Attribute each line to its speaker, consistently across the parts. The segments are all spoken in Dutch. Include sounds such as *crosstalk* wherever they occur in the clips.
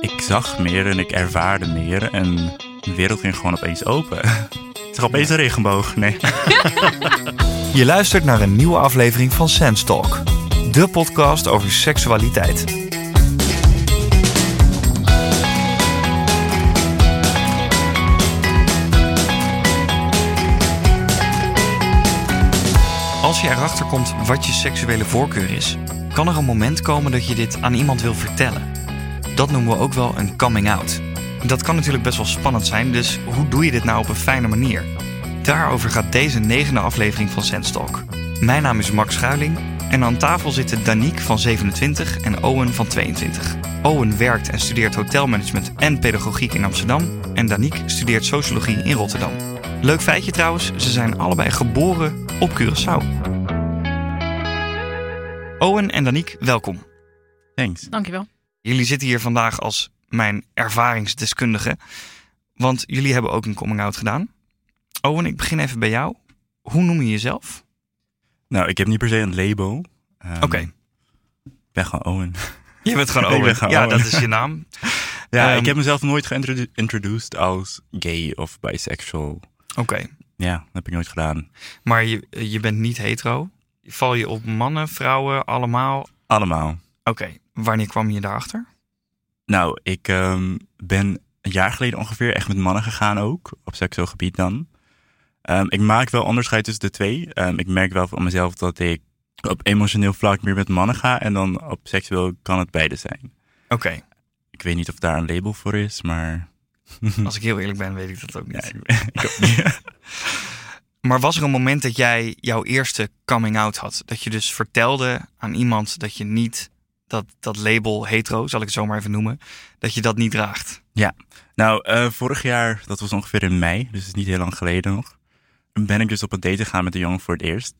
Speaker 1: ik zag meer en ik ervaarde meer. En de wereld ging gewoon opeens open. *laughs* Het is opeens een regenboog. Nee.
Speaker 2: Je luistert naar een nieuwe aflevering van Sense Talk, de podcast over seksualiteit. Als je erachter komt wat je seksuele voorkeur is, kan er een moment komen dat je dit aan iemand wil vertellen. Dat noemen we ook wel een coming out. Dat kan natuurlijk best wel spannend zijn, dus hoe doe je dit nou op een fijne manier? Daarover gaat deze negende aflevering van Senstalk. Mijn naam is Max Schuiling en aan tafel zitten Danique van 27 en Owen van 22. Owen werkt en studeert hotelmanagement en pedagogiek in Amsterdam en Danique studeert sociologie in Rotterdam. Leuk feitje trouwens, ze zijn allebei geboren op Curaçao. Owen en Danique, welkom.
Speaker 1: Thanks.
Speaker 3: Dankjewel.
Speaker 2: Jullie zitten hier vandaag als mijn ervaringsdeskundige, want jullie hebben ook een coming-out gedaan. Owen, ik begin even bij jou. Hoe noem je jezelf?
Speaker 1: Nou, ik heb niet per se een label. Ehm,
Speaker 2: Oké,
Speaker 1: Ik ben gewoon Owen. *laughs*
Speaker 2: je bent gewoon
Speaker 1: Ik ben
Speaker 2: Owen.
Speaker 1: gewoon
Speaker 2: ja,
Speaker 1: Owen.
Speaker 2: dat is je
Speaker 1: *laughs*
Speaker 2: naam.
Speaker 1: Ja,
Speaker 2: Ehm,
Speaker 1: ik heb mezelf nooit geïntroduced als gay of bisexual.
Speaker 2: Oké,
Speaker 1: Ja, dat heb ik nooit gedaan.
Speaker 2: maar je, je bent niet hetero. Val je op mannen, vrouwen, allemaal? Oké,
Speaker 1: Allemaal.
Speaker 2: wanneer kwam je daarachter?
Speaker 1: Nou, ik ehm, ben een jaar geleden ongeveer echt met mannen gegaan ook, op seksueel gebied dan. Ehm, ik maak wel onderscheid tussen de twee. Ehm, ik merk wel van mezelf dat ik op emotioneel vlak meer met mannen ga en dan op seksueel kan het beide zijn.
Speaker 2: Oké,
Speaker 1: Ik weet niet of daar een label voor is, maar...
Speaker 2: als ik heel eerlijk ben, weet ik dat ook
Speaker 1: Ja,
Speaker 2: niet.
Speaker 1: ik, ik ook niet.
Speaker 2: Maar was er een moment dat jij jouw eerste coming-out had? Dat je dus vertelde aan iemand dat je niet dat, dat label hetero, zal ik het zo maar even noemen, dat je dat niet draagt?
Speaker 1: nou, eh, vorig jaar, dat was ongeveer in mei, dus het is niet heel lang geleden nog, ben ik dus op een date gegaan met een jongen voor het eerst.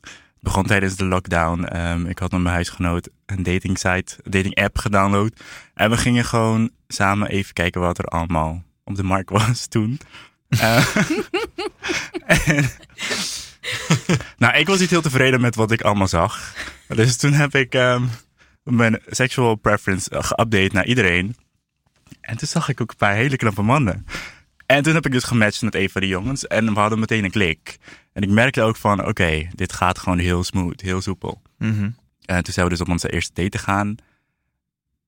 Speaker 1: Het begon tijdens de lockdown. Ehm, ik had met mijn huisgenoot een dating site, een dating app gedownload. En we gingen gewoon samen even kijken wat er allemaal op de markt was *laughs* toen. Eh, *laughs* en- nou, ik was niet heel tevreden met wat ik allemaal zag. Dus toen heb ik ehm, mijn sexual preference eh, geüpdate naar iedereen. En toen zag ik ook een paar hele knappe mannen. En toen heb ik dus gematcht met een van die jongens. En we hadden meteen een klik. En ik merkte ook van, oké, dit gaat gewoon heel smooth, heel soepel.
Speaker 2: Mhm.
Speaker 1: En toen zijn we dus op onze eerste date gaan.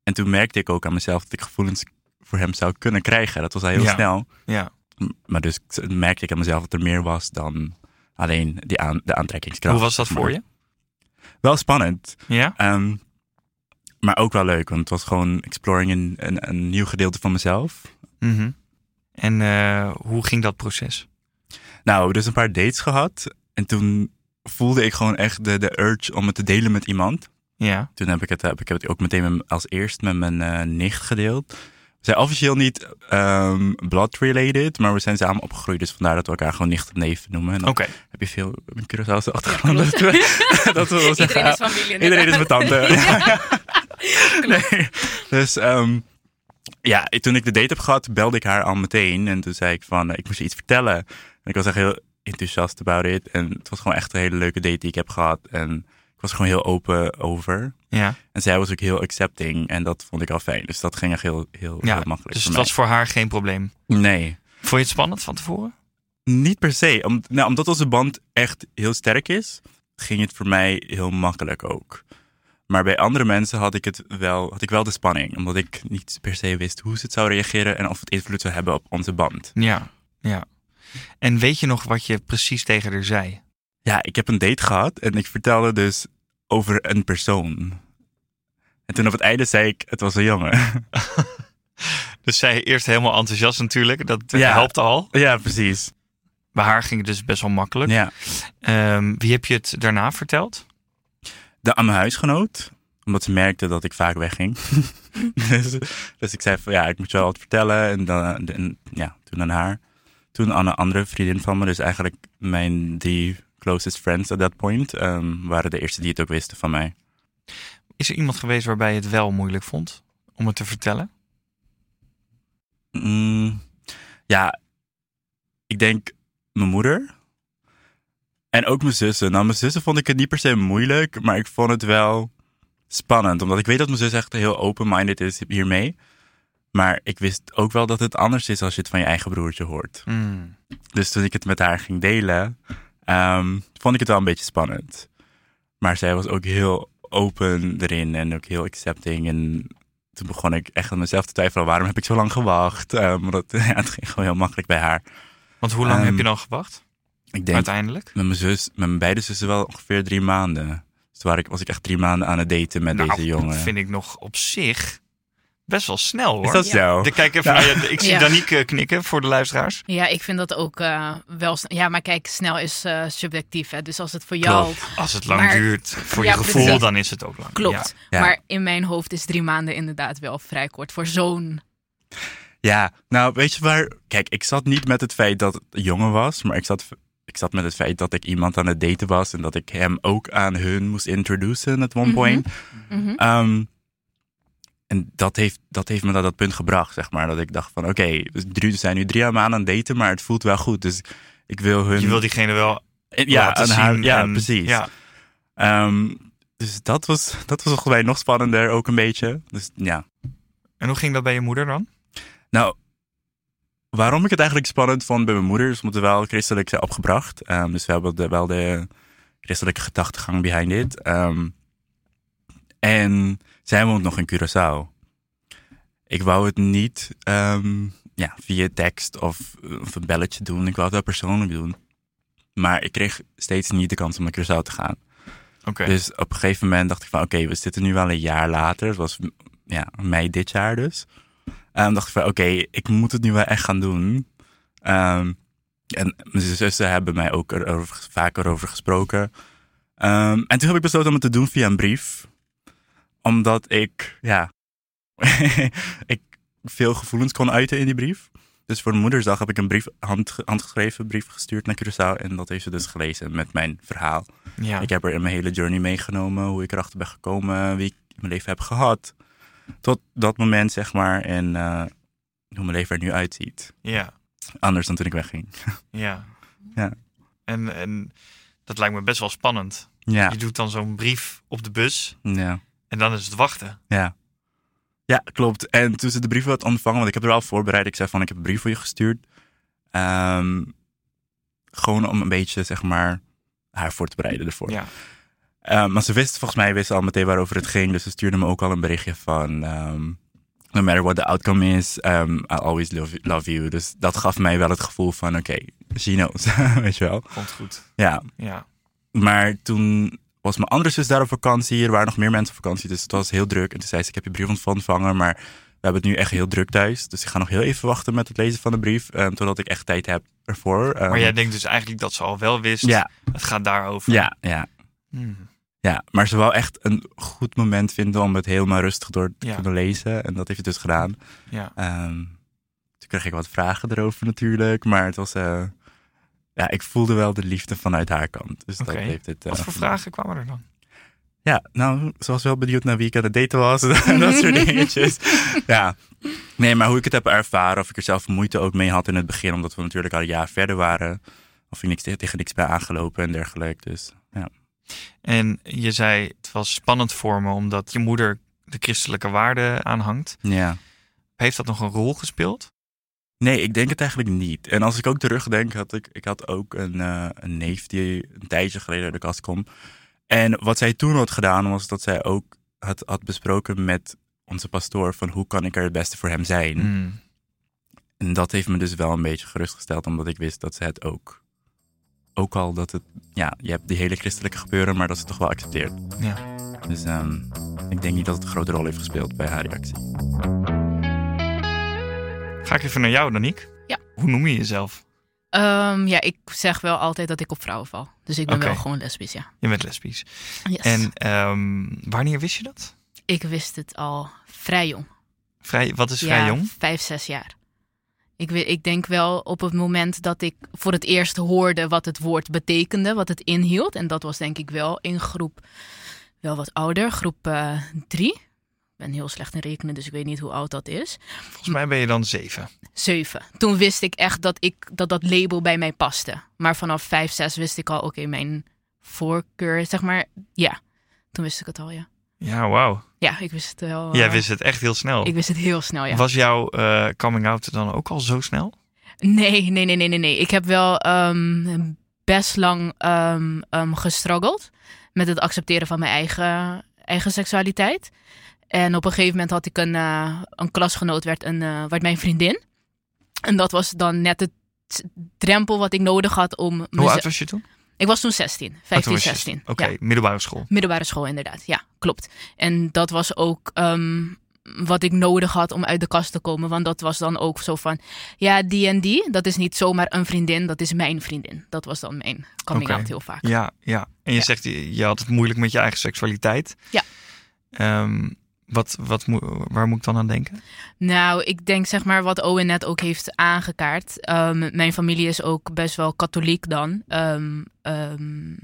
Speaker 1: En toen merkte ik ook aan mezelf dat ik gevoelens voor hem zou kunnen krijgen. Dat was al heel
Speaker 2: Ja.
Speaker 1: snel.
Speaker 2: Ja,
Speaker 1: M- Maar dus k- merkte ik aan mezelf dat er meer was dan alleen die aan, de aantrekkingskracht.
Speaker 2: hoe was dat
Speaker 1: zeg maar.
Speaker 2: voor je?
Speaker 1: Wel spannend.
Speaker 2: Ja?
Speaker 1: Ehm, maar ook wel leuk, want het was gewoon exploring een, een, een nieuw gedeelte van mezelf.
Speaker 2: Mhm. En eh, hoe ging dat proces?
Speaker 1: Nou, dus een paar dates gehad. En toen voelde ik gewoon echt de, de urge om het te delen met iemand.
Speaker 2: Ja,
Speaker 1: Toen heb ik het, heb ik het ook meteen met- als eerst met mijn eh, nicht gedeeld. We zijn officieel niet ehm, blood-related, maar we zijn samen opgegroeid. Dus vandaar dat we elkaar gewoon nicht en neef noemen. En dan
Speaker 2: oké.
Speaker 1: heb je veel een Curaçaose achtergrond. dat we- *laughs* dat we wel zeggen,
Speaker 3: Iedereen is
Speaker 1: ah,
Speaker 3: familie.
Speaker 1: iedereen is mijn tante.
Speaker 3: *laughs*
Speaker 1: Ja.
Speaker 3: Klopt.
Speaker 1: nee. Dus ehm, ja, toen ik de date heb gehad, belde ik haar al meteen. En toen zei ik van, eh, ik moest je iets vertellen. En ik was echt heel enthousiast about it. En het was gewoon echt een hele leuke date die ik heb gehad. En ik was gewoon heel open over.
Speaker 2: Ja,
Speaker 1: En zij was ook heel accepting. En dat vond ik al fijn. Dus dat ging echt heel, heel,
Speaker 2: Ja,
Speaker 1: heel makkelijk
Speaker 2: dus
Speaker 1: voor
Speaker 2: het
Speaker 1: mij.
Speaker 2: was voor haar geen probleem.
Speaker 1: Nee.
Speaker 2: Vond je het spannend van tevoren?
Speaker 1: Niet per se. Om, nou, omdat onze band echt heel sterk is, ging het voor mij heel makkelijk ook. Maar bij andere mensen had ik, het wel, had ik wel de spanning. Omdat ik niet per se wist hoe ze het zou reageren en of het invloed zou hebben op onze band.
Speaker 2: Ja, ja. En weet je nog wat je precies tegen haar zei?
Speaker 1: Ja, ik heb een date gehad en ik vertelde dus over een persoon. En toen op het einde zei ik, het was een jongen. *laughs*
Speaker 2: Dus zij eerst helemaal enthousiast natuurlijk, dat
Speaker 1: Ja.
Speaker 2: helpt al.
Speaker 1: ja, precies.
Speaker 2: Bij haar ging het dus best wel makkelijk.
Speaker 1: Ja.
Speaker 2: Ehm, wie heb je het daarna verteld?
Speaker 1: De, aan mijn huisgenoot. Omdat ze merkte dat ik vaak wegging. dus, dus ik zei van ja, ik moet je wel wat vertellen. En, dan, en ja, toen aan haar. Toen aan een andere vriendin van me. Dus eigenlijk mijn drie closest friends at that point. ehm, waren de eerste die het ook wisten van mij.
Speaker 2: Is er iemand geweest waarbij je het wel moeilijk vond om het te vertellen?
Speaker 1: Mm, ja, ik denk mijn moeder. En ook mijn zussen. Nou, mijn zussen vond ik het niet per se moeilijk, maar ik vond het wel spannend. Omdat ik weet dat mijn zus echt heel open-minded is hiermee. Maar ik wist ook wel dat het anders is als je het van je eigen broertje hoort.
Speaker 2: Mm.
Speaker 1: Dus toen ik het met haar ging delen, ehm, vond ik het wel een beetje spannend. Maar zij was ook heel open erin en ook heel accepting. En toen begon ik echt aan mezelf te twijfelen, waarom heb ik zo lang gewacht? Ehm dat, *laughs* ja, het ging gewoon heel makkelijk bij haar.
Speaker 2: Want hoe lang
Speaker 1: Ehm,
Speaker 2: heb je dan gewacht?
Speaker 1: Ik denk
Speaker 2: Uiteindelijk?
Speaker 1: met mijn zus, met mijn beide zussen wel ongeveer drie maanden. Dus toen waren ik- was ik echt drie maanden aan het daten met
Speaker 2: Nou,
Speaker 1: deze jongen.
Speaker 2: vind ik nog op zich best wel snel hoor.
Speaker 1: Is dat
Speaker 3: Ja.
Speaker 1: zo?
Speaker 2: De- Kijk even, naar je- ik zie
Speaker 3: Ja.
Speaker 2: Danique eh, knikken voor de luisteraars.
Speaker 3: Ja, ik vind dat ook eh, wel. sn- Ja, maar kijk, snel is eh, subjectief. Hè? Dus als het voor jou
Speaker 2: Als het lang
Speaker 3: Maar-
Speaker 2: duurt voor
Speaker 3: Ja,
Speaker 2: je gevoel,
Speaker 3: precies.
Speaker 2: dan is het ook lang.
Speaker 3: klopt.
Speaker 1: Ja.
Speaker 3: Maar in mijn hoofd is drie maanden inderdaad wel vrij kort voor zo'n.
Speaker 1: Ja, nou weet je waar... Kijk, ik zat niet met het feit dat het een jongen was, maar ik zat, ik zat met het feit dat ik iemand aan het daten was en dat ik hem ook aan hun moest introducen at one
Speaker 3: Mhm.
Speaker 1: point.
Speaker 3: Mhm.
Speaker 1: Ehm, en dat heeft, dat heeft me naar dat punt gebracht, zeg maar. Dat ik dacht van, oké, dus drie- we zijn nu drie jaar maanden aan het daten, maar het voelt wel goed. Dus ik wil
Speaker 2: Ja.
Speaker 1: hun...
Speaker 2: Je wil diegene wel
Speaker 1: ja,
Speaker 2: laten
Speaker 1: aan
Speaker 2: zien.
Speaker 1: haar- ja,
Speaker 2: en-
Speaker 1: precies.
Speaker 2: Ja.
Speaker 1: Ehm, dus dat was, dat was volgens mij nog spannender ook een beetje. Dus ja.
Speaker 2: En hoe ging dat bij je moeder dan?
Speaker 1: Nou, waarom ik het eigenlijk spannend vond bij mijn moeder, is moeten we wel christelijk zijn opgebracht. Ehm, dus we hebben de, wel de christelijke gedachtegang behind it. Ehm, en zij woont nog in Curaçao. Ik wou het niet ehm, ja, via tekst of, of een belletje doen. Ik wou het wel persoonlijk doen. Maar ik kreeg steeds niet de kans om naar Curaçao te gaan.
Speaker 2: Oké.
Speaker 1: Dus op een gegeven moment dacht ik van, oké, we zitten nu wel een jaar later. Het was ja, mei dit jaar dus. Ehm dacht ik van, oké, ik moet het nu wel echt gaan doen. Ehm, en mijn zussen hebben mij ook erover, vaker over gesproken. Ehm, en toen heb ik besloten om het te doen via een brief. Omdat ik, ja, *laughs* ik veel gevoelens kon uiten in die brief. Dus voor moedersdag heb ik een brief, hand, handgeschreven brief gestuurd naar Curaçao. En dat heeft ze dus gelezen met mijn verhaal.
Speaker 2: ja.
Speaker 1: Ik heb er in mijn hele journey meegenomen, hoe ik erachter ben gekomen, wie ik in mijn leven heb gehad. Tot dat moment, zeg maar, en eh, hoe mijn leven er nu uitziet.
Speaker 2: ja.
Speaker 1: Anders dan toen ik wegging.
Speaker 2: Ja.
Speaker 1: Ja.
Speaker 2: En, en dat lijkt me best wel spannend.
Speaker 1: Ja,
Speaker 2: Je doet dan zo'n brief op de bus
Speaker 1: ja,
Speaker 2: en dan is het wachten.
Speaker 1: ja. Ja, klopt. En toen ze de brief had ontvangen, want ik heb er al voorbereid. Ik zei van, ik heb een brief voor je gestuurd. Ehm, gewoon om een beetje, zeg maar, haar voor te bereiden ervoor.
Speaker 2: Ja.
Speaker 1: Eh, maar ze wist, volgens mij wist ze al meteen waarover het ging. Dus ze stuurde me ook al een berichtje van... ehm, no matter what the outcome is, ehm, I'll always love, love you. Dus dat gaf mij wel het gevoel van, oké, she knows, *laughs* weet je wel.
Speaker 2: Komt goed.
Speaker 1: Ja,
Speaker 2: Ja.
Speaker 1: maar toen was mijn andere zus daar op vakantie. Er waren nog meer mensen op vakantie, dus het was heel druk. En toen zei ze, ik heb je brief ontvangen, maar we hebben het nu echt heel druk thuis. Dus ik ga nog heel even wachten met het lezen van de brief, ehm, totdat ik echt tijd heb ervoor. Ehm,
Speaker 2: Maar jij denkt dus eigenlijk dat ze al wel wist.
Speaker 1: Ja,
Speaker 2: Het gaat daarover.
Speaker 1: ja, ja.
Speaker 2: Hmm.
Speaker 1: Ja, maar ze wou echt een goed moment vinden om het helemaal rustig door te
Speaker 2: Ja.
Speaker 1: kunnen lezen. En dat heeft het dus gedaan.
Speaker 2: Ja.
Speaker 1: Ehm, toen kreeg ik wat vragen erover natuurlijk. Maar het was... eh, ja, ik voelde wel de liefde vanuit haar kant. Dus
Speaker 2: Oké.
Speaker 1: dat heeft het... eh,
Speaker 2: Wat voor vragen kwamen er dan?
Speaker 1: Ja, nou, ze was wel benieuwd naar wie ik aan het daten was. *laughs* en dat soort dingetjes. ja. Nee, maar hoe ik het heb ervaren, of ik er zelf moeite ook mee had in het begin. Omdat we natuurlijk al een jaar verder waren. Of ik niks, tegen niks bij aangelopen en dergelijke. Dus ja.
Speaker 2: En je zei, het was spannend voor me omdat je moeder de christelijke waarden aanhangt.
Speaker 1: Ja.
Speaker 2: Heeft dat nog een rol gespeeld?
Speaker 1: Nee, ik denk het eigenlijk niet. En als ik ook terugdenk, had ik, ik had ook een, eh, een neef die een tijdje geleden uit de kast kwam. En wat zij toen had gedaan, was dat zij ook had, had besproken met onze pastoor van hoe kan ik er het beste voor hem zijn.
Speaker 2: Hmm.
Speaker 1: En dat heeft me dus wel een beetje gerustgesteld, omdat ik wist dat ze het ook, ook al dat het, ja, je hebt die hele christelijke gebeuren, maar dat ze het toch wel accepteert.
Speaker 2: Ja.
Speaker 1: Dus ehm, ik denk niet dat het een grote rol heeft gespeeld bij haar reactie.
Speaker 2: Ga ik even naar jou, Daniek.
Speaker 3: Ja.
Speaker 2: Hoe noem je jezelf?
Speaker 3: Ehm, ja, ik zeg wel altijd dat ik op vrouwen val. Dus ik ben
Speaker 2: Oké.
Speaker 3: wel gewoon lesbisch, ja.
Speaker 2: Je bent lesbisch.
Speaker 3: Yes.
Speaker 2: En ehm, wanneer wist je dat?
Speaker 3: ik wist het al vrij jong.
Speaker 2: Vrij, wat is vrij
Speaker 3: ja,
Speaker 2: jong?
Speaker 3: Vijf, zes jaar. Ik, we- ik denk wel op het moment dat ik voor het eerst hoorde wat het woord betekende, wat het inhield. En dat was denk ik wel in groep, wel wat ouder, groep eh, drie. Ik ben heel slecht in rekenen, dus ik weet niet hoe oud dat is.
Speaker 2: Volgens mij ben je dan zeven.
Speaker 3: Zeven. Toen wist ik echt dat, ik, dat dat label bij mij paste. Maar vanaf vijf, zes wist ik al, oké, mijn voorkeur, zeg maar, ja. Toen wist ik het al, ja.
Speaker 2: Ja, wauw.
Speaker 3: Ja, ik wist het wel.
Speaker 2: Jij
Speaker 3: eh,
Speaker 2: wist het echt heel snel.
Speaker 3: Ik wist het heel snel, Oh ja.
Speaker 2: Was jouw eh, coming out dan ook al zo snel?
Speaker 3: Nee, nee, nee, nee, nee, nee. Ik heb wel ehm, best lang ehm ehm, gestruggeld met het accepteren van mijn eigen, eigen seksualiteit. En op een gegeven moment had ik een, eh, een klasgenoot, werd, een, eh, werd mijn vriendin. En dat was dan net het drempel wat ik nodig had om...
Speaker 2: Hoe
Speaker 3: meze-
Speaker 2: oud was je toen?
Speaker 3: Ik was toen 16, 15,
Speaker 2: was je-
Speaker 3: 16.
Speaker 2: Oké,
Speaker 3: ja.
Speaker 2: middelbare school.
Speaker 3: Middelbare school, inderdaad. Ja, klopt. En dat was ook ehm, wat ik nodig had om uit de kast te komen. Want dat was dan ook zo van... Ja, die en die, dat is niet zomaar een vriendin. Dat is mijn vriendin. Dat was dan mijn coming
Speaker 2: Oké.
Speaker 3: out heel vaak.
Speaker 2: Ja, ja. En je
Speaker 3: Ja.
Speaker 2: zegt, je je had het moeilijk met je eigen seksualiteit.
Speaker 3: Ja.
Speaker 2: Ehm, wat, wat moe- waar moet ik dan aan denken?
Speaker 3: Nou, ik denk zeg maar wat Owen net ook heeft aangekaart. Ehm, mijn familie is ook best wel katholiek dan. Ehm, ehm,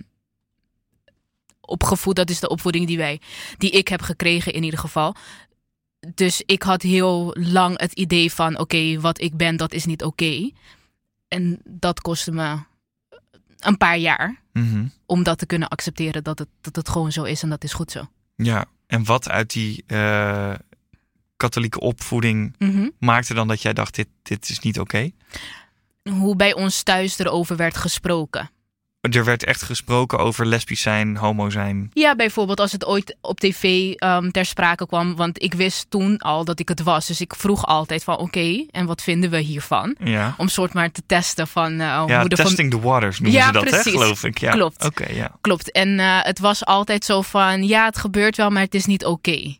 Speaker 3: opgevoed, dat is de opvoeding die wij, die ik heb gekregen in ieder geval. Dus ik had heel lang het idee van, oké, wat ik ben, dat is niet oké. En dat kostte me een paar jaar
Speaker 2: Mhm.
Speaker 3: om dat te kunnen accepteren dat het, dat het gewoon zo is en dat is goed zo.
Speaker 2: Ja, en wat uit die eh, katholieke opvoeding
Speaker 3: Mhm.
Speaker 2: maakte dan dat jij dacht, dit, dit is niet oké?
Speaker 3: Hoe bij ons thuis erover werd gesproken.
Speaker 2: Er werd echt gesproken over lesbisch zijn, homo zijn.
Speaker 3: Ja, bijvoorbeeld als het ooit op tv ehm, ter sprake kwam. Want ik wist toen al dat ik het was. Dus ik vroeg altijd van oké, en wat vinden we hiervan?
Speaker 2: Ja,
Speaker 3: Om soort maar te testen van eh,
Speaker 2: ja
Speaker 3: hoe de fam-
Speaker 2: testing the waters noemen
Speaker 3: Ja,
Speaker 2: ze dat, hè,
Speaker 3: precies.
Speaker 2: geloof ik. Ja.
Speaker 3: Klopt.
Speaker 2: Oké, ja.
Speaker 3: Klopt. En eh, het was altijd zo van ja, het gebeurt wel, maar het is niet oké.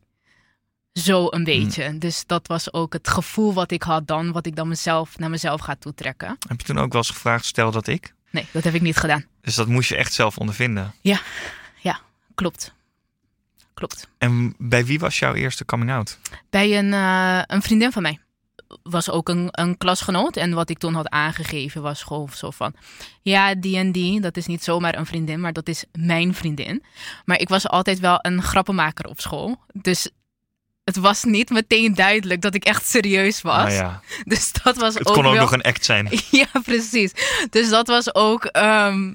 Speaker 3: Zo
Speaker 2: Hmm.
Speaker 3: een beetje. Dus dat was ook het gevoel wat ik had dan, wat ik dan mezelf naar mezelf ga toetrekken.
Speaker 2: Heb je toen ook wel eens gevraagd, stel dat ik?
Speaker 3: Nee, dat heb ik niet gedaan.
Speaker 2: Dus dat moest je echt zelf ondervinden.
Speaker 3: Klopt. Klopt.
Speaker 2: En bij wie was jouw eerste coming out?
Speaker 3: bij een, eh, een vriendin van mij. Was ook een, een klasgenoot. En wat ik toen had aangegeven was gewoon zo van... Ja, die en die, dat is niet zomaar een vriendin, maar dat is mijn vriendin. Maar ik was altijd wel een grappenmaker op school. Dus het was niet meteen duidelijk dat ik echt serieus was.
Speaker 2: Nou ja,
Speaker 3: *laughs* Dus dat was
Speaker 2: het
Speaker 3: ook
Speaker 2: kon ook
Speaker 3: wel...
Speaker 2: nog een act
Speaker 3: *laughs*
Speaker 2: zijn.
Speaker 3: Ja, precies. Dus dat was ook ehm,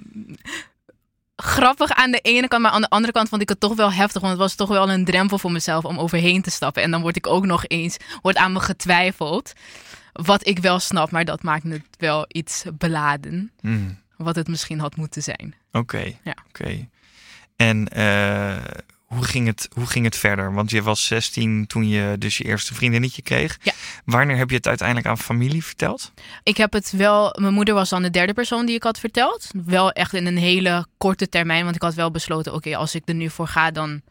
Speaker 3: grappig aan de ene kant. Maar aan de andere kant vond ik het toch wel heftig. Want het was toch wel een drempel voor mezelf om overheen te stappen. En dan word ik ook nog eens wordt aan me getwijfeld. Wat ik wel snap, maar dat maakt het wel iets beladen.
Speaker 2: Hmm.
Speaker 3: Wat het misschien had moeten zijn.
Speaker 2: Oké.
Speaker 3: Ja.
Speaker 2: Oké. En eh, hoe, ging het, hoe ging het verder? Want je was 16 toen je dus je eerste vriendinnetje kreeg.
Speaker 3: Ja.
Speaker 2: Wanneer heb je het uiteindelijk aan familie verteld?
Speaker 3: Ik heb het wel. Mijn moeder was dan de derde persoon die ik had verteld. Wel echt in een hele korte termijn. Want ik had wel besloten: oké, als ik er nu voor ga, dan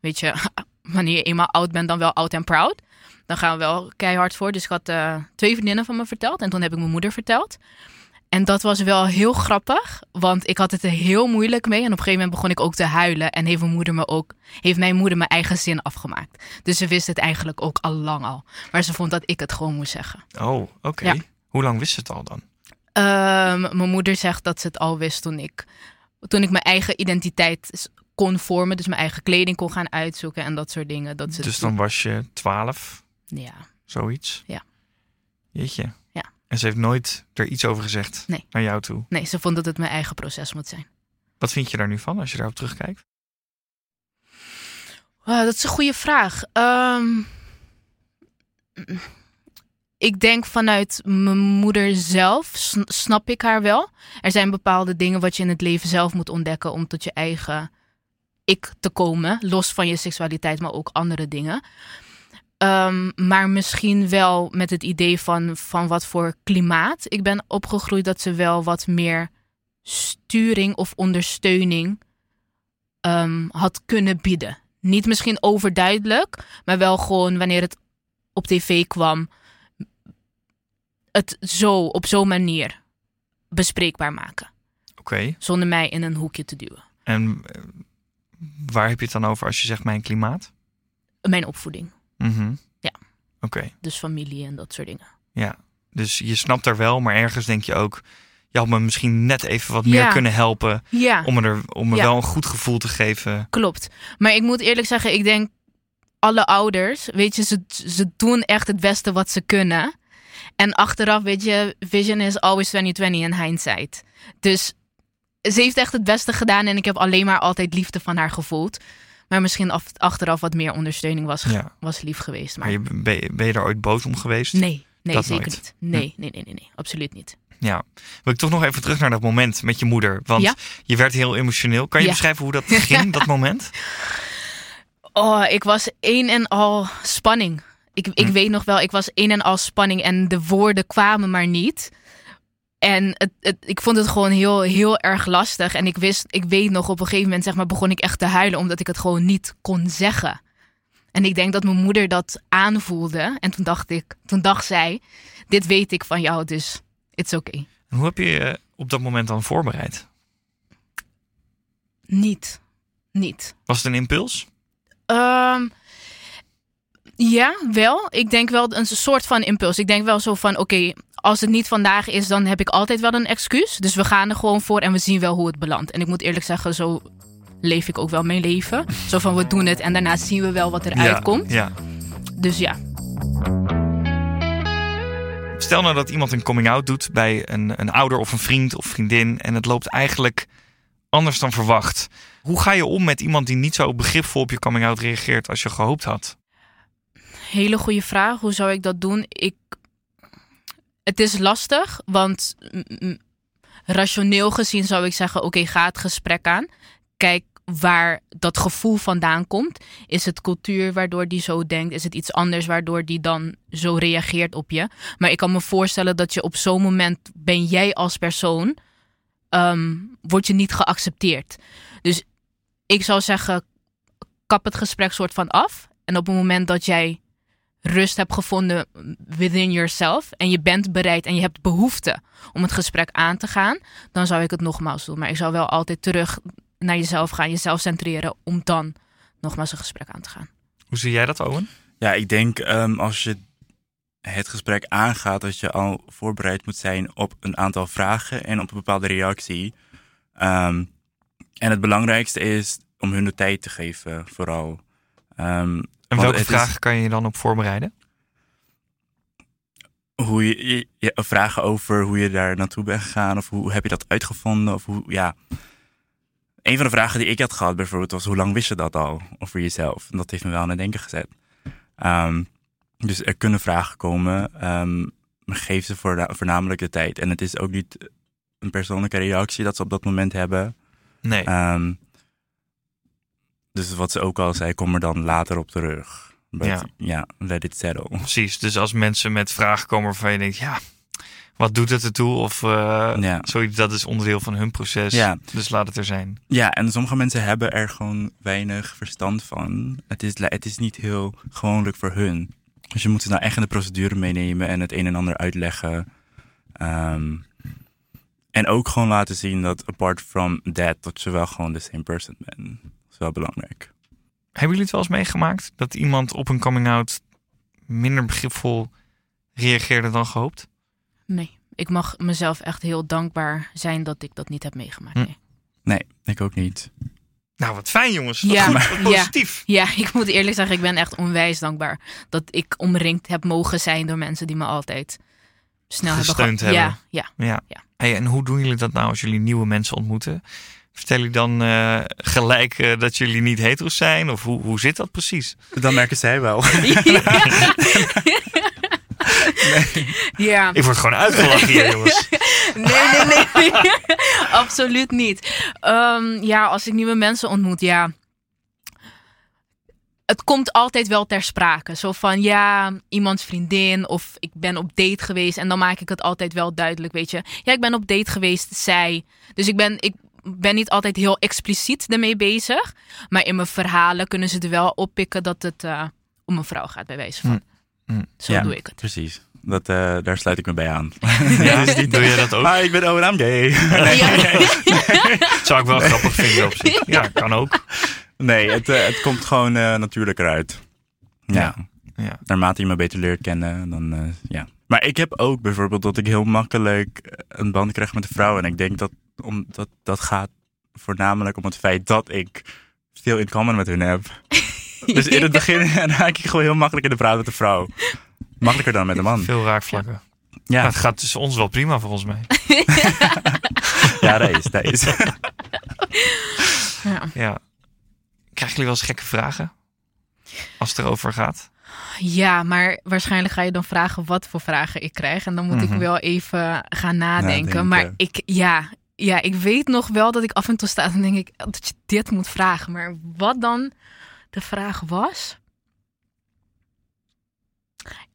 Speaker 3: weet je, *laughs* wanneer je eenmaal oud bent, dan wel oud en proud. Dan gaan we wel keihard voor. Dus ik had eh, twee vriendinnen van me verteld. En toen heb ik mijn moeder verteld. En dat was wel heel grappig, want ik had het er heel moeilijk mee. En op een gegeven moment begon ik ook te huilen. En heeft mijn moeder, me ook, heeft mijn moeder mijn eigen zin afgemaakt. Dus ze wist het eigenlijk ook al lang al. Maar ze vond dat ik het gewoon moest zeggen.
Speaker 2: Oh, oké.
Speaker 3: Ja.
Speaker 2: Hoe lang wist ze het al dan?
Speaker 3: Ehm, mijn moeder zegt dat ze het al wist toen ik, toen ik mijn eigen identiteit s- kon vormen. Dus mijn eigen kleding kon gaan uitzoeken en dat soort dingen. Dat ze
Speaker 2: Dus dan was je 12,
Speaker 3: Ja,
Speaker 2: zoiets?
Speaker 3: Ja.
Speaker 2: Jeetje.
Speaker 3: Ja.
Speaker 2: En ze heeft nooit er iets over gezegd
Speaker 3: Nee.
Speaker 2: naar jou toe.
Speaker 3: nee, ze vond dat het mijn eigen proces moet zijn.
Speaker 2: Wat vind je daar nu van als je daarop terugkijkt?
Speaker 3: Ah, dat is een goede vraag. Ehm, ik denk vanuit mijn moeder zelf sn- snap ik haar wel. Er zijn bepaalde dingen wat je in het leven zelf moet ontdekken om tot je eigen ik te komen. Los van je seksualiteit, maar ook andere dingen. Ehm, maar misschien wel met het idee van, van wat voor klimaat ik ben opgegroeid, dat ze wel wat meer sturing of ondersteuning ehm, had kunnen bieden. Niet misschien overduidelijk, maar wel gewoon wanneer het op tv kwam, het zo op zo'n manier bespreekbaar maken.
Speaker 2: Oké.
Speaker 3: Zonder mij in een hoekje te duwen.
Speaker 2: En eh, waar heb je het dan over als je zegt mijn klimaat?
Speaker 3: Mijn opvoeding,
Speaker 2: Mhm.
Speaker 3: Ja.
Speaker 2: Oké.
Speaker 3: dus familie en dat soort dingen.
Speaker 2: Ja, dus je snapt daar wel, maar ergens denk je ook... je had me misschien net even wat meer
Speaker 3: Ja.
Speaker 2: kunnen helpen...
Speaker 3: Ja,
Speaker 2: om me, er, om me
Speaker 3: Ja.
Speaker 2: wel een goed gevoel te geven.
Speaker 3: klopt. Maar ik moet eerlijk zeggen, ik denk alle ouders, weet je, ze, ze doen echt het beste wat ze kunnen. En achteraf, weet je, vision is always 2020 in hindsight. Dus ze heeft echt het beste gedaan en ik heb alleen maar altijd liefde van haar gevoeld. Maar misschien af, achteraf wat meer ondersteuning was, ge-
Speaker 2: Ja.
Speaker 3: was lief geweest. Maar
Speaker 2: Maar je, ben, je, ben je daar ooit boos om geweest?
Speaker 3: nee, nee
Speaker 2: Dat
Speaker 3: zeker
Speaker 2: nooit.
Speaker 3: niet. Nee, nee, nee, nee, nee, absoluut niet.
Speaker 2: Ja. Wil ik toch nog even terug naar dat moment met je moeder. Want
Speaker 3: Ja.
Speaker 2: je werd heel emotioneel. Kan je
Speaker 3: Ja.
Speaker 2: beschrijven hoe dat
Speaker 3: *laughs*
Speaker 2: ging, dat moment?
Speaker 3: Oh, ik was een en al spanning. Ik, ik
Speaker 2: Hm.
Speaker 3: weet nog wel, ik was een en al spanning en de woorden kwamen maar niet. En het, het- ik vond het gewoon heel, heel erg lastig. En ik wist, ik weet nog, op een gegeven moment zeg maar, begon ik echt te huilen omdat ik het gewoon niet kon zeggen. En ik denk dat mijn moeder dat aanvoelde. En toen dacht ik, toen dacht zij, dit weet ik van jou, dus it's okay.
Speaker 2: En hoe heb je je op dat moment dan voorbereid?
Speaker 3: Niet, niet.
Speaker 2: Was het een impuls?
Speaker 3: Ehm, ja, wel. Ik denk wel een soort van impuls. Ik denk wel zo van: oké, als het niet vandaag is, dan heb ik altijd wel een excuus. Dus we gaan er gewoon voor en we zien wel hoe het belandt. En ik moet eerlijk zeggen, zo leef ik ook wel mijn leven. Zo van: we doen het en daarna zien we wel wat eruit komt.
Speaker 2: Ja.
Speaker 3: Dus ja.
Speaker 2: Stel nou dat iemand een coming-out doet bij een, een ouder of een vriend of vriendin. En het loopt eigenlijk anders dan verwacht. Hoe ga je om met iemand die niet zo begripvol op je coming-out reageert als je gehoopt had?
Speaker 3: Hele goede vraag. Hoe zou ik dat doen? Ik... Het is lastig, want mm, mm, rationeel gezien zou ik zeggen: oké, ga het gesprek aan. Kijk waar dat gevoel vandaan komt. Is het cultuur waardoor die zo denkt? Is het iets anders waardoor die dan zo reageert op je? Maar ik kan me voorstellen dat je op zo'n moment ben jij als persoon ehm word je niet geaccepteerd. Dus ik zou zeggen, kap het gesprek soort van af. En op het moment dat jij rust hebt gevonden within yourself en je bent bereid en je hebt behoefte om het gesprek aan te gaan, dan zou ik het nogmaals doen. Maar ik zou wel altijd terug naar jezelf gaan, jezelf centreren om dan nogmaals een gesprek aan te gaan.
Speaker 2: Hoe zie jij dat, Owen?
Speaker 1: Ja, ik denk ehm, als je het gesprek aangaat, dat je al voorbereid moet zijn op een aantal vragen en op een bepaalde reactie. Ehm, en het belangrijkste is om hun de tijd te geven, vooral. Ehm,
Speaker 2: En
Speaker 1: Want
Speaker 2: welke
Speaker 1: het is-
Speaker 2: vragen kan je je dan op voorbereiden?
Speaker 1: hoe je, je- je- vragen over hoe je daar naartoe bent gegaan of hoe heb je dat uitgevonden of hoe ja een van de vragen die ik had gehad bijvoorbeeld was hoe lang wist je dat al over jezelf en dat heeft me wel aan het denken gezet Ehm, dus er kunnen vragen komen ehm, maar geef ze voorna- voornamelijk de tijd en het is ook niet een persoonlijke reactie dat ze op dat moment hebben
Speaker 2: Nee.
Speaker 1: Ehm, dus wat ze ook al zei kom er dan later op terug But,
Speaker 2: Ja.
Speaker 1: ja let it settle
Speaker 2: Precies, dus als mensen met vragen komen waarvan je denkt, ja, wat doet het ertoe? Of eh,
Speaker 1: ja
Speaker 2: zoiets, dat is onderdeel van hun proces.
Speaker 1: Ja.
Speaker 2: Dus laat het er zijn.
Speaker 1: Ja, en sommige mensen hebben er gewoon weinig verstand van. Het is, het is niet heel gewoonlijk voor hun. Dus je moet ze nou echt in de procedure meenemen en het een en ander uitleggen. Ehm, en ook gewoon laten zien dat apart from that, dat je wel gewoon the same person bent. Dat is wel belangrijk.
Speaker 2: Hebben jullie het wel eens meegemaakt dat iemand op een coming-out minder begripvol reageerde dan gehoopt?
Speaker 3: Nee, ik mag mezelf echt heel dankbaar zijn dat ik dat niet heb meegemaakt.
Speaker 2: Hm.
Speaker 3: nee.
Speaker 1: Nee, ik ook niet.
Speaker 2: Nou, wat fijn jongens. Wat
Speaker 3: Ja,
Speaker 2: goed, wat
Speaker 3: ja.
Speaker 2: positief.
Speaker 3: Ja, *laughs* ik moet eerlijk zeggen, ik ben echt onwijs dankbaar dat ik omringd heb mogen zijn door mensen die me altijd snel
Speaker 2: Gesteund
Speaker 3: hebben ge-
Speaker 2: hebben.
Speaker 3: Ja, ja.
Speaker 2: Ja.
Speaker 3: Ja.
Speaker 2: Hey, en hoe doen jullie dat nou als jullie nieuwe mensen ontmoeten? Vertel jullie dan eh, gelijk eh, dat jullie niet hetero's zijn? Of hoe, hoe zit dat precies?
Speaker 1: Dan merken zij wel.
Speaker 3: *laughs*
Speaker 2: *laughs*
Speaker 3: ja.
Speaker 2: Ik word gewoon uitgelachen
Speaker 3: *laughs*
Speaker 2: hier, jongens.
Speaker 3: Nee, nee, nee. *laughs* Absoluut niet. Ehm, ja, als ik nieuwe mensen ontmoet, ja. Het komt altijd wel ter sprake. Zo van, ja, iemands vriendin of ik ben op date geweest. En dan maak ik het altijd wel duidelijk, weet je. Ja, ik ben op date geweest, zij. Dus ik ben, ik ben niet altijd heel expliciet ermee bezig. Maar in mijn verhalen kunnen ze er wel oppikken dat het eh, om een vrouw gaat, bij wijze van.
Speaker 2: Hm, hm.
Speaker 3: Zo
Speaker 1: Ja.
Speaker 3: doe ik het.
Speaker 1: *laughs* Precies. Dat, eh, daar sluit ik me bij aan.
Speaker 2: Ja, Dus doe je dat ook?
Speaker 1: Ah, ik ben Owen, I'm gay.
Speaker 3: *laughs* Ja.
Speaker 2: Zou ik wel grappig vinden op zich. Ja, kan ook.
Speaker 1: Nee, het, eh, het komt gewoon eh natuurlijker uit.
Speaker 2: Ja.
Speaker 1: ja.
Speaker 2: Ja.
Speaker 1: naarmate je me beter leert kennen, dan eh, ja. Maar ik heb ook bijvoorbeeld dat ik heel makkelijk eh, een band krijg met een vrouw. En ik denk dat om, dat, dat gaat voornamelijk om het feit dat ik veel in common met hun *laughs* heb. Dus in het begin *laughs* raak ik gewoon heel makkelijk in de praat met een vrouw. Makkelijker dan met een *laughs* man.
Speaker 2: Veel raakvlakken. Maar
Speaker 1: Ja,
Speaker 2: het gaat tussen ons wel prima volgens mij.
Speaker 1: ja dat is, dat is.
Speaker 3: Ja.
Speaker 2: Ja. Krijgen jullie wel eens gekke vragen? Als het erover gaat.
Speaker 3: Ja, maar waarschijnlijk ga je dan vragen wat voor vragen ik krijg. En dan moet
Speaker 2: Mhm.
Speaker 3: ik wel even gaan nadenken.
Speaker 1: Nadenken.
Speaker 3: Maar ik, ja, ja, ik weet nog wel dat ik af en toe sta en denk ik oh, dat je dit moet vragen. Maar wat dan de vraag was?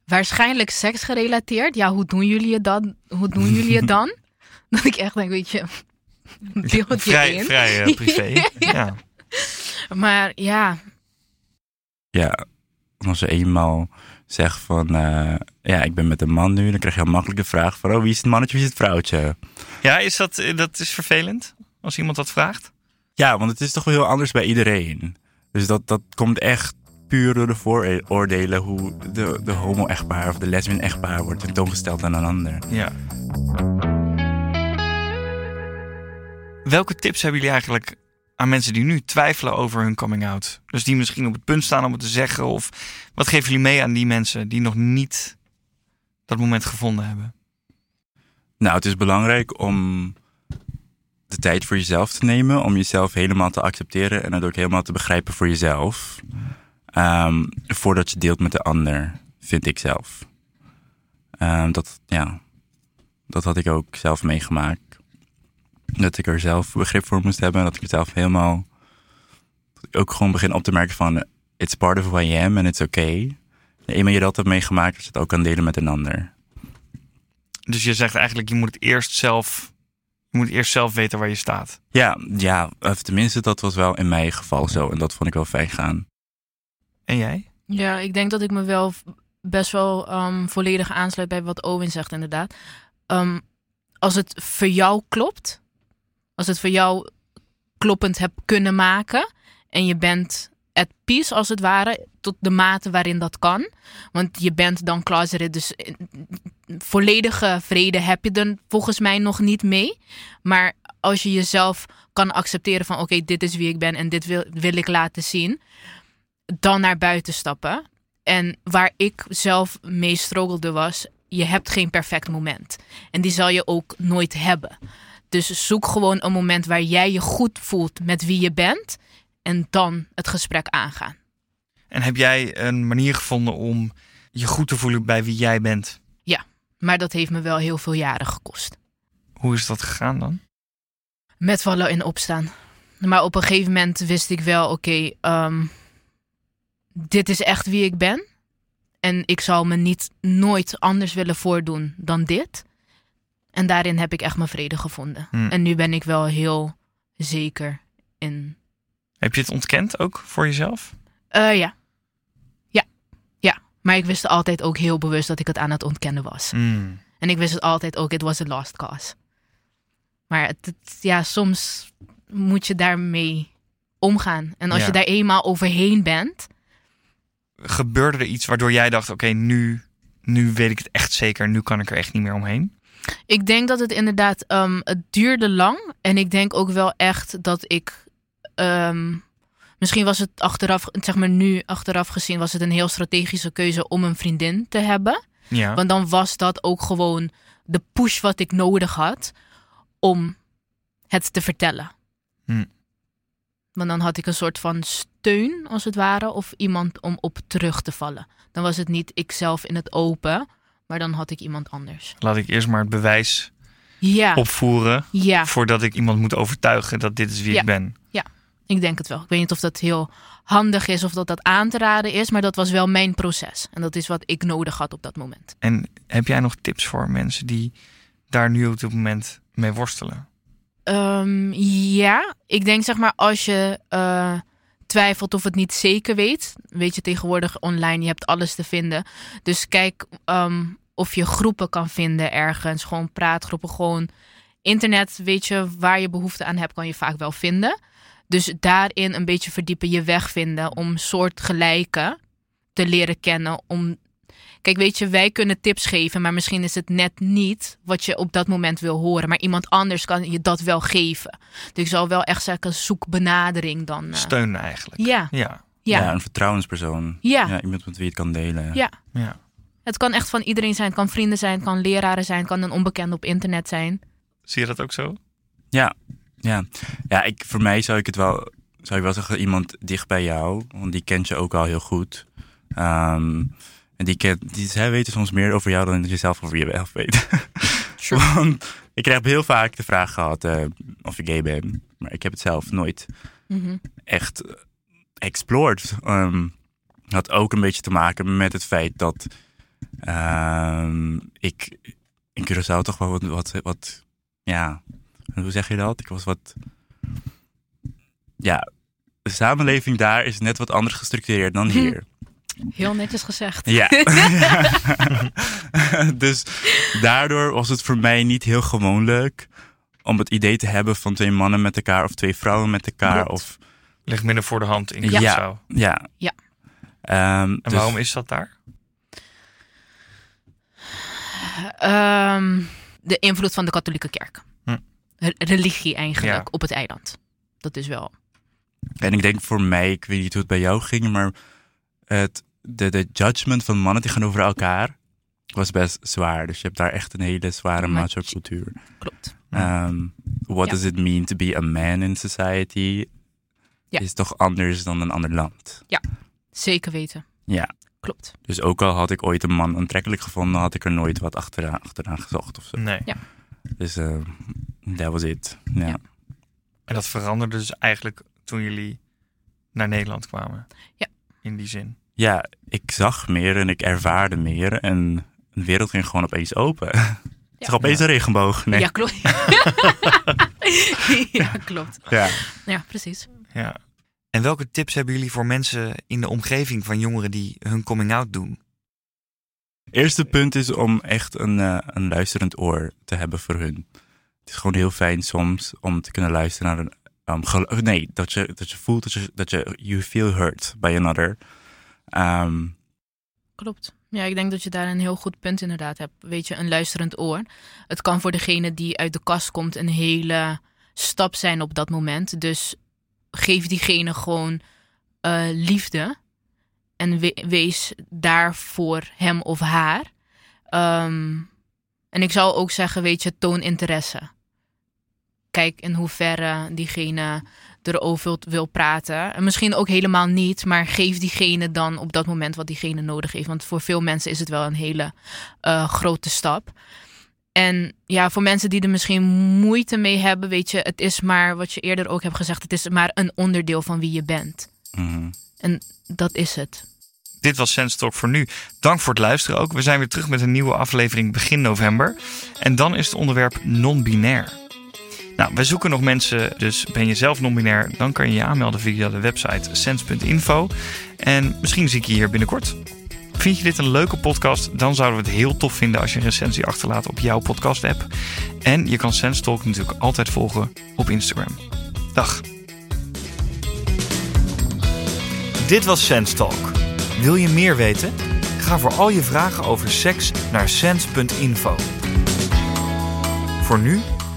Speaker 3: Waarschijnlijk seksgerelateerd. Ja, hoe doen jullie het dan? Hoe doen jullie
Speaker 2: *laughs*
Speaker 3: het dan? dat ik echt denk, weet je, deel het je
Speaker 2: Vrij,
Speaker 3: in.
Speaker 2: vrij eh,
Speaker 3: *laughs*
Speaker 2: privé. ja.
Speaker 3: Maar ja,
Speaker 1: Ja, *laughs* als ze eenmaal zegt van, eh, ja, ik ben met een man nu, dan krijg je al makkelijk de vraag van, oh, wie is het mannetje, wie is het vrouwtje?
Speaker 2: ja, is dat, eh, dat is vervelend als iemand dat vraagt.
Speaker 1: Ja, want het is toch wel heel anders bij iedereen. Dus dat, dat komt echt puur door de vooroordelen hoe de, de homo-echtpaar of de lesbien-echtpaar wordt tentoongesteld aan een ander.
Speaker 2: Ja. Welke tips hebben jullie eigenlijk aan mensen die nu twijfelen over hun coming out? Dus die misschien op het punt staan om het te zeggen. Of wat geven jullie mee aan die mensen die nog niet dat moment gevonden hebben?
Speaker 1: Nou, het is belangrijk om de tijd voor jezelf te nemen, om jezelf helemaal te accepteren en het ook helemaal te begrijpen voor jezelf, Ehm, voordat je deelt met de ander, vind ik zelf. Ehm, dat, ja, dat had ik ook zelf meegemaakt. Dat ik er zelf begrip voor moest hebben, en dat ik het zelf helemaal dat ik ook gewoon begin op te merken van it's part of who I am and it's okay. Eenmaal je dat hebt meegemaakt, is het ook aan delen met een ander.
Speaker 2: Dus je zegt eigenlijk, je moet het eerst zelf, je moet eerst zelf weten waar je staat.
Speaker 1: Ja, ja, of tenminste, dat was wel in mijn geval zo. En dat vond ik wel fijn gaan.
Speaker 2: En jij?
Speaker 3: Ja, ik denk dat ik me wel v- best wel ehm, volledig aansluit bij wat Owen zegt, inderdaad. Ehm, als het voor jou klopt, als het voor jou kloppend hebt kunnen maken en je bent at peace als het ware, tot de mate waarin dat kan. Want je bent dan closeted, dus eh, volledige vrede heb je er volgens mij nog niet mee. Maar als je jezelf kan accepteren van oké, dit is wie ik ben en dit wil, wil ik laten zien dan naar buiten stappen. En waar ik zelf mee struggelde was, je hebt geen perfect moment. En die zal je ook nooit hebben. Dus zoek gewoon een moment waar jij je goed voelt met wie je bent. En dan het gesprek aangaan.
Speaker 2: En heb jij een manier gevonden om je goed te voelen bij wie jij bent?
Speaker 3: Maar dat heeft me wel heel veel jaren gekost.
Speaker 2: Hoe is dat gegaan dan?
Speaker 3: Met vallen en opstaan. Maar op een gegeven moment wist ik wel, oké, ehm, dit is echt wie ik ben. En ik zal me niet nooit anders willen voordoen dan dit. En daarin heb ik echt mijn vrede gevonden.
Speaker 2: Hmm.
Speaker 3: En nu ben ik wel heel zeker in
Speaker 2: Heb je het ontkend ook voor jezelf?
Speaker 3: eh, ja. Ja. Ja. Maar ik wist altijd ook heel bewust dat ik het aan het ontkennen was. En ik wist het altijd ook, het was een lost cause. Maar het, het- ja, soms moet je daarmee omgaan. En als
Speaker 2: Ja.
Speaker 3: je daar eenmaal overheen bent,
Speaker 2: Gebeurde er iets waardoor jij dacht, oké, nu, nu weet ik het echt zeker. Nu kan ik er echt niet meer omheen.
Speaker 3: Ik denk dat het inderdaad, ehm, het duurde lang. En ik denk ook wel echt dat ik. ehm, misschien was het achteraf, zeg maar nu achteraf gezien, was het een heel strategische keuze om een vriendin te hebben.
Speaker 2: Ja.
Speaker 3: Want dan was dat ook gewoon de push wat ik nodig had om het te vertellen.
Speaker 2: Hm.
Speaker 3: Want dan had ik een soort van steun, als het ware, of iemand om op terug te vallen. Dan was het niet ikzelf in het open, maar dan had ik iemand anders.
Speaker 2: Laat ik eerst maar het bewijs
Speaker 3: Ja,
Speaker 2: opvoeren
Speaker 3: ja.
Speaker 2: voordat ik iemand moet overtuigen dat dit is wie
Speaker 3: Ja.
Speaker 2: ik ben.
Speaker 3: Ik denk het wel. Ik weet niet of dat heel handig is of dat dat aan te raden is, maar dat was wel mijn proces. En dat is wat ik nodig had op dat moment.
Speaker 2: En heb jij nog tips voor mensen die daar nu op dit moment mee worstelen?
Speaker 3: Ehm, ja, ik denk zeg maar als je eh, twijfelt of het niet zeker weet, weet je tegenwoordig online, je hebt alles te vinden. Dus kijk ehm, of je groepen kan vinden ergens, gewoon praatgroepen, gewoon internet, weet je, waar je behoefte aan hebt, kan je vaak wel vinden. Dus daarin een beetje verdiepen, je weg vinden om soortgelijken te leren kennen. Om... Kijk, weet je, wij kunnen tips geven, maar misschien is het net niet wat je op dat moment wil horen. Maar iemand anders kan je dat wel geven. Dus ik zou wel echt zeggen, zoek benadering dan. eh.
Speaker 2: Steunen eigenlijk.
Speaker 3: Ja,
Speaker 2: Ja.
Speaker 3: ja, ja.
Speaker 1: een vertrouwenspersoon. iemand met wie je het kan delen.
Speaker 3: Ja.
Speaker 2: ja.
Speaker 3: Het kan echt van iedereen zijn. Het kan vrienden zijn, het kan leraren zijn, het kan een onbekende op internet zijn.
Speaker 2: Zie je dat ook zo?
Speaker 1: Ja, ja. ja ik, voor mij zou ik het wel zou ik wel zeggen, iemand dicht bij jou, want die kent je ook al heel goed. Ehm, en die kent, die, zij weten soms meer over jou dan dat je zelf over jezelf weet. *laughs* Want ik krijg heel vaak de vraag gehad eh, of ik gay ben, maar ik heb het zelf nooit
Speaker 3: Mhm.
Speaker 1: echt eh, explored. Ehm, had ook een beetje te maken met het feit dat ehm, ik in Curaçao toch wel wat, wat, wat, ja, hoe zeg je dat? Ik was wat, ja, de samenleving daar is net wat anders gestructureerd dan
Speaker 3: Hm.
Speaker 1: hier.
Speaker 3: Heel netjes gezegd.
Speaker 1: Ja. *laughs* dus daardoor was het voor mij niet heel gewoonlijk om het idee te hebben van twee mannen met elkaar of twee vrouwen met elkaar
Speaker 2: Klopt.
Speaker 1: of
Speaker 2: Ligt minder voor de hand in Curaçao.
Speaker 1: Ja. Ja.
Speaker 3: Ja.
Speaker 1: Ehm,
Speaker 2: En
Speaker 1: dus-
Speaker 2: waarom is dat daar?
Speaker 3: Ehm, de invloed van de katholieke kerk.
Speaker 2: Hm.
Speaker 3: Re- Religie eigenlijk
Speaker 2: Ja.
Speaker 3: op het eiland. Dat is wel.
Speaker 1: En ik denk voor mij, ik weet niet hoe het bij jou ging, maar het, de, de judgment van mannen tegenover elkaar was best zwaar. Dus je hebt daar echt een hele zware
Speaker 3: Maar-
Speaker 1: macho cultuur.
Speaker 3: Klopt.
Speaker 1: Ehm, what
Speaker 3: Ja.
Speaker 1: does it mean to be a man in society?
Speaker 3: Ja.
Speaker 1: Is toch anders dan een ander land.
Speaker 3: Zeker weten.
Speaker 1: Ja.
Speaker 3: Klopt.
Speaker 1: Dus ook al had ik ooit een man aantrekkelijk gevonden, had ik er nooit wat achteraan, achteraan gezocht of zo.
Speaker 2: Nee.
Speaker 1: Dus eh that was it. Ja.
Speaker 3: Ja.
Speaker 2: En dat veranderde dus eigenlijk toen jullie naar Nederland kwamen.
Speaker 3: Ja.
Speaker 2: In die zin.
Speaker 1: ja, ik zag meer en ik ervaarde meer en de wereld ging gewoon opeens open. *laughs* Het is opeens een regenboog. Nee.
Speaker 3: Ja, klopt. *laughs* ja, klopt.
Speaker 1: Ja.
Speaker 3: Ja, precies.
Speaker 2: Ja. En welke tips hebben jullie voor mensen in de omgeving van jongeren die hun coming out doen?
Speaker 1: Eerste punt is om echt een, eh, een luisterend oor te hebben voor hun. Het is gewoon heel fijn soms om te kunnen luisteren naar een. um, gelu- nee, dat je, dat je voelt dat je, dat je. You feel hurt by another. Ehm,
Speaker 3: Klopt. Ja, ik denk dat je daar een heel goed punt inderdaad hebt. Weet je, een luisterend oor. Het kan voor degene die uit de kast komt een hele stap zijn op dat moment. Dus geef diegene gewoon eh, liefde. En we- wees daar voor hem of haar. Ehm, en ik zou ook zeggen, weet je, toon interesse. Kijk in hoeverre diegene erover wilt- wil praten. En misschien ook helemaal niet, maar geef diegene dan op dat moment wat diegene nodig heeft. Want voor veel mensen is het wel een hele eh, grote stap. En ja, voor mensen die er misschien moeite mee hebben, weet je, het is maar, wat je eerder ook hebt gezegd, het is maar een onderdeel van wie je bent.
Speaker 1: mhm.
Speaker 3: Dat is het.
Speaker 2: Dit was Sense Talk voor nu. Dank voor het luisteren ook. We zijn weer terug met een nieuwe aflevering begin november. En dan is het onderwerp non-binair. Nou, we zoeken nog mensen, dus ben je zelf non-binair, dan kan je je aanmelden via de website sens.info. En misschien zie ik je hier binnenkort. Vind je dit een leuke podcast? Dan zouden we het heel tof vinden als je een recensie achterlaat op jouw podcast-app. En je kan Sense Talk natuurlijk altijd volgen op Instagram. Dag. Dit was Sense Talk. Wil je meer weten? Ga voor al je vragen over seks naar sens.info. Voor nu,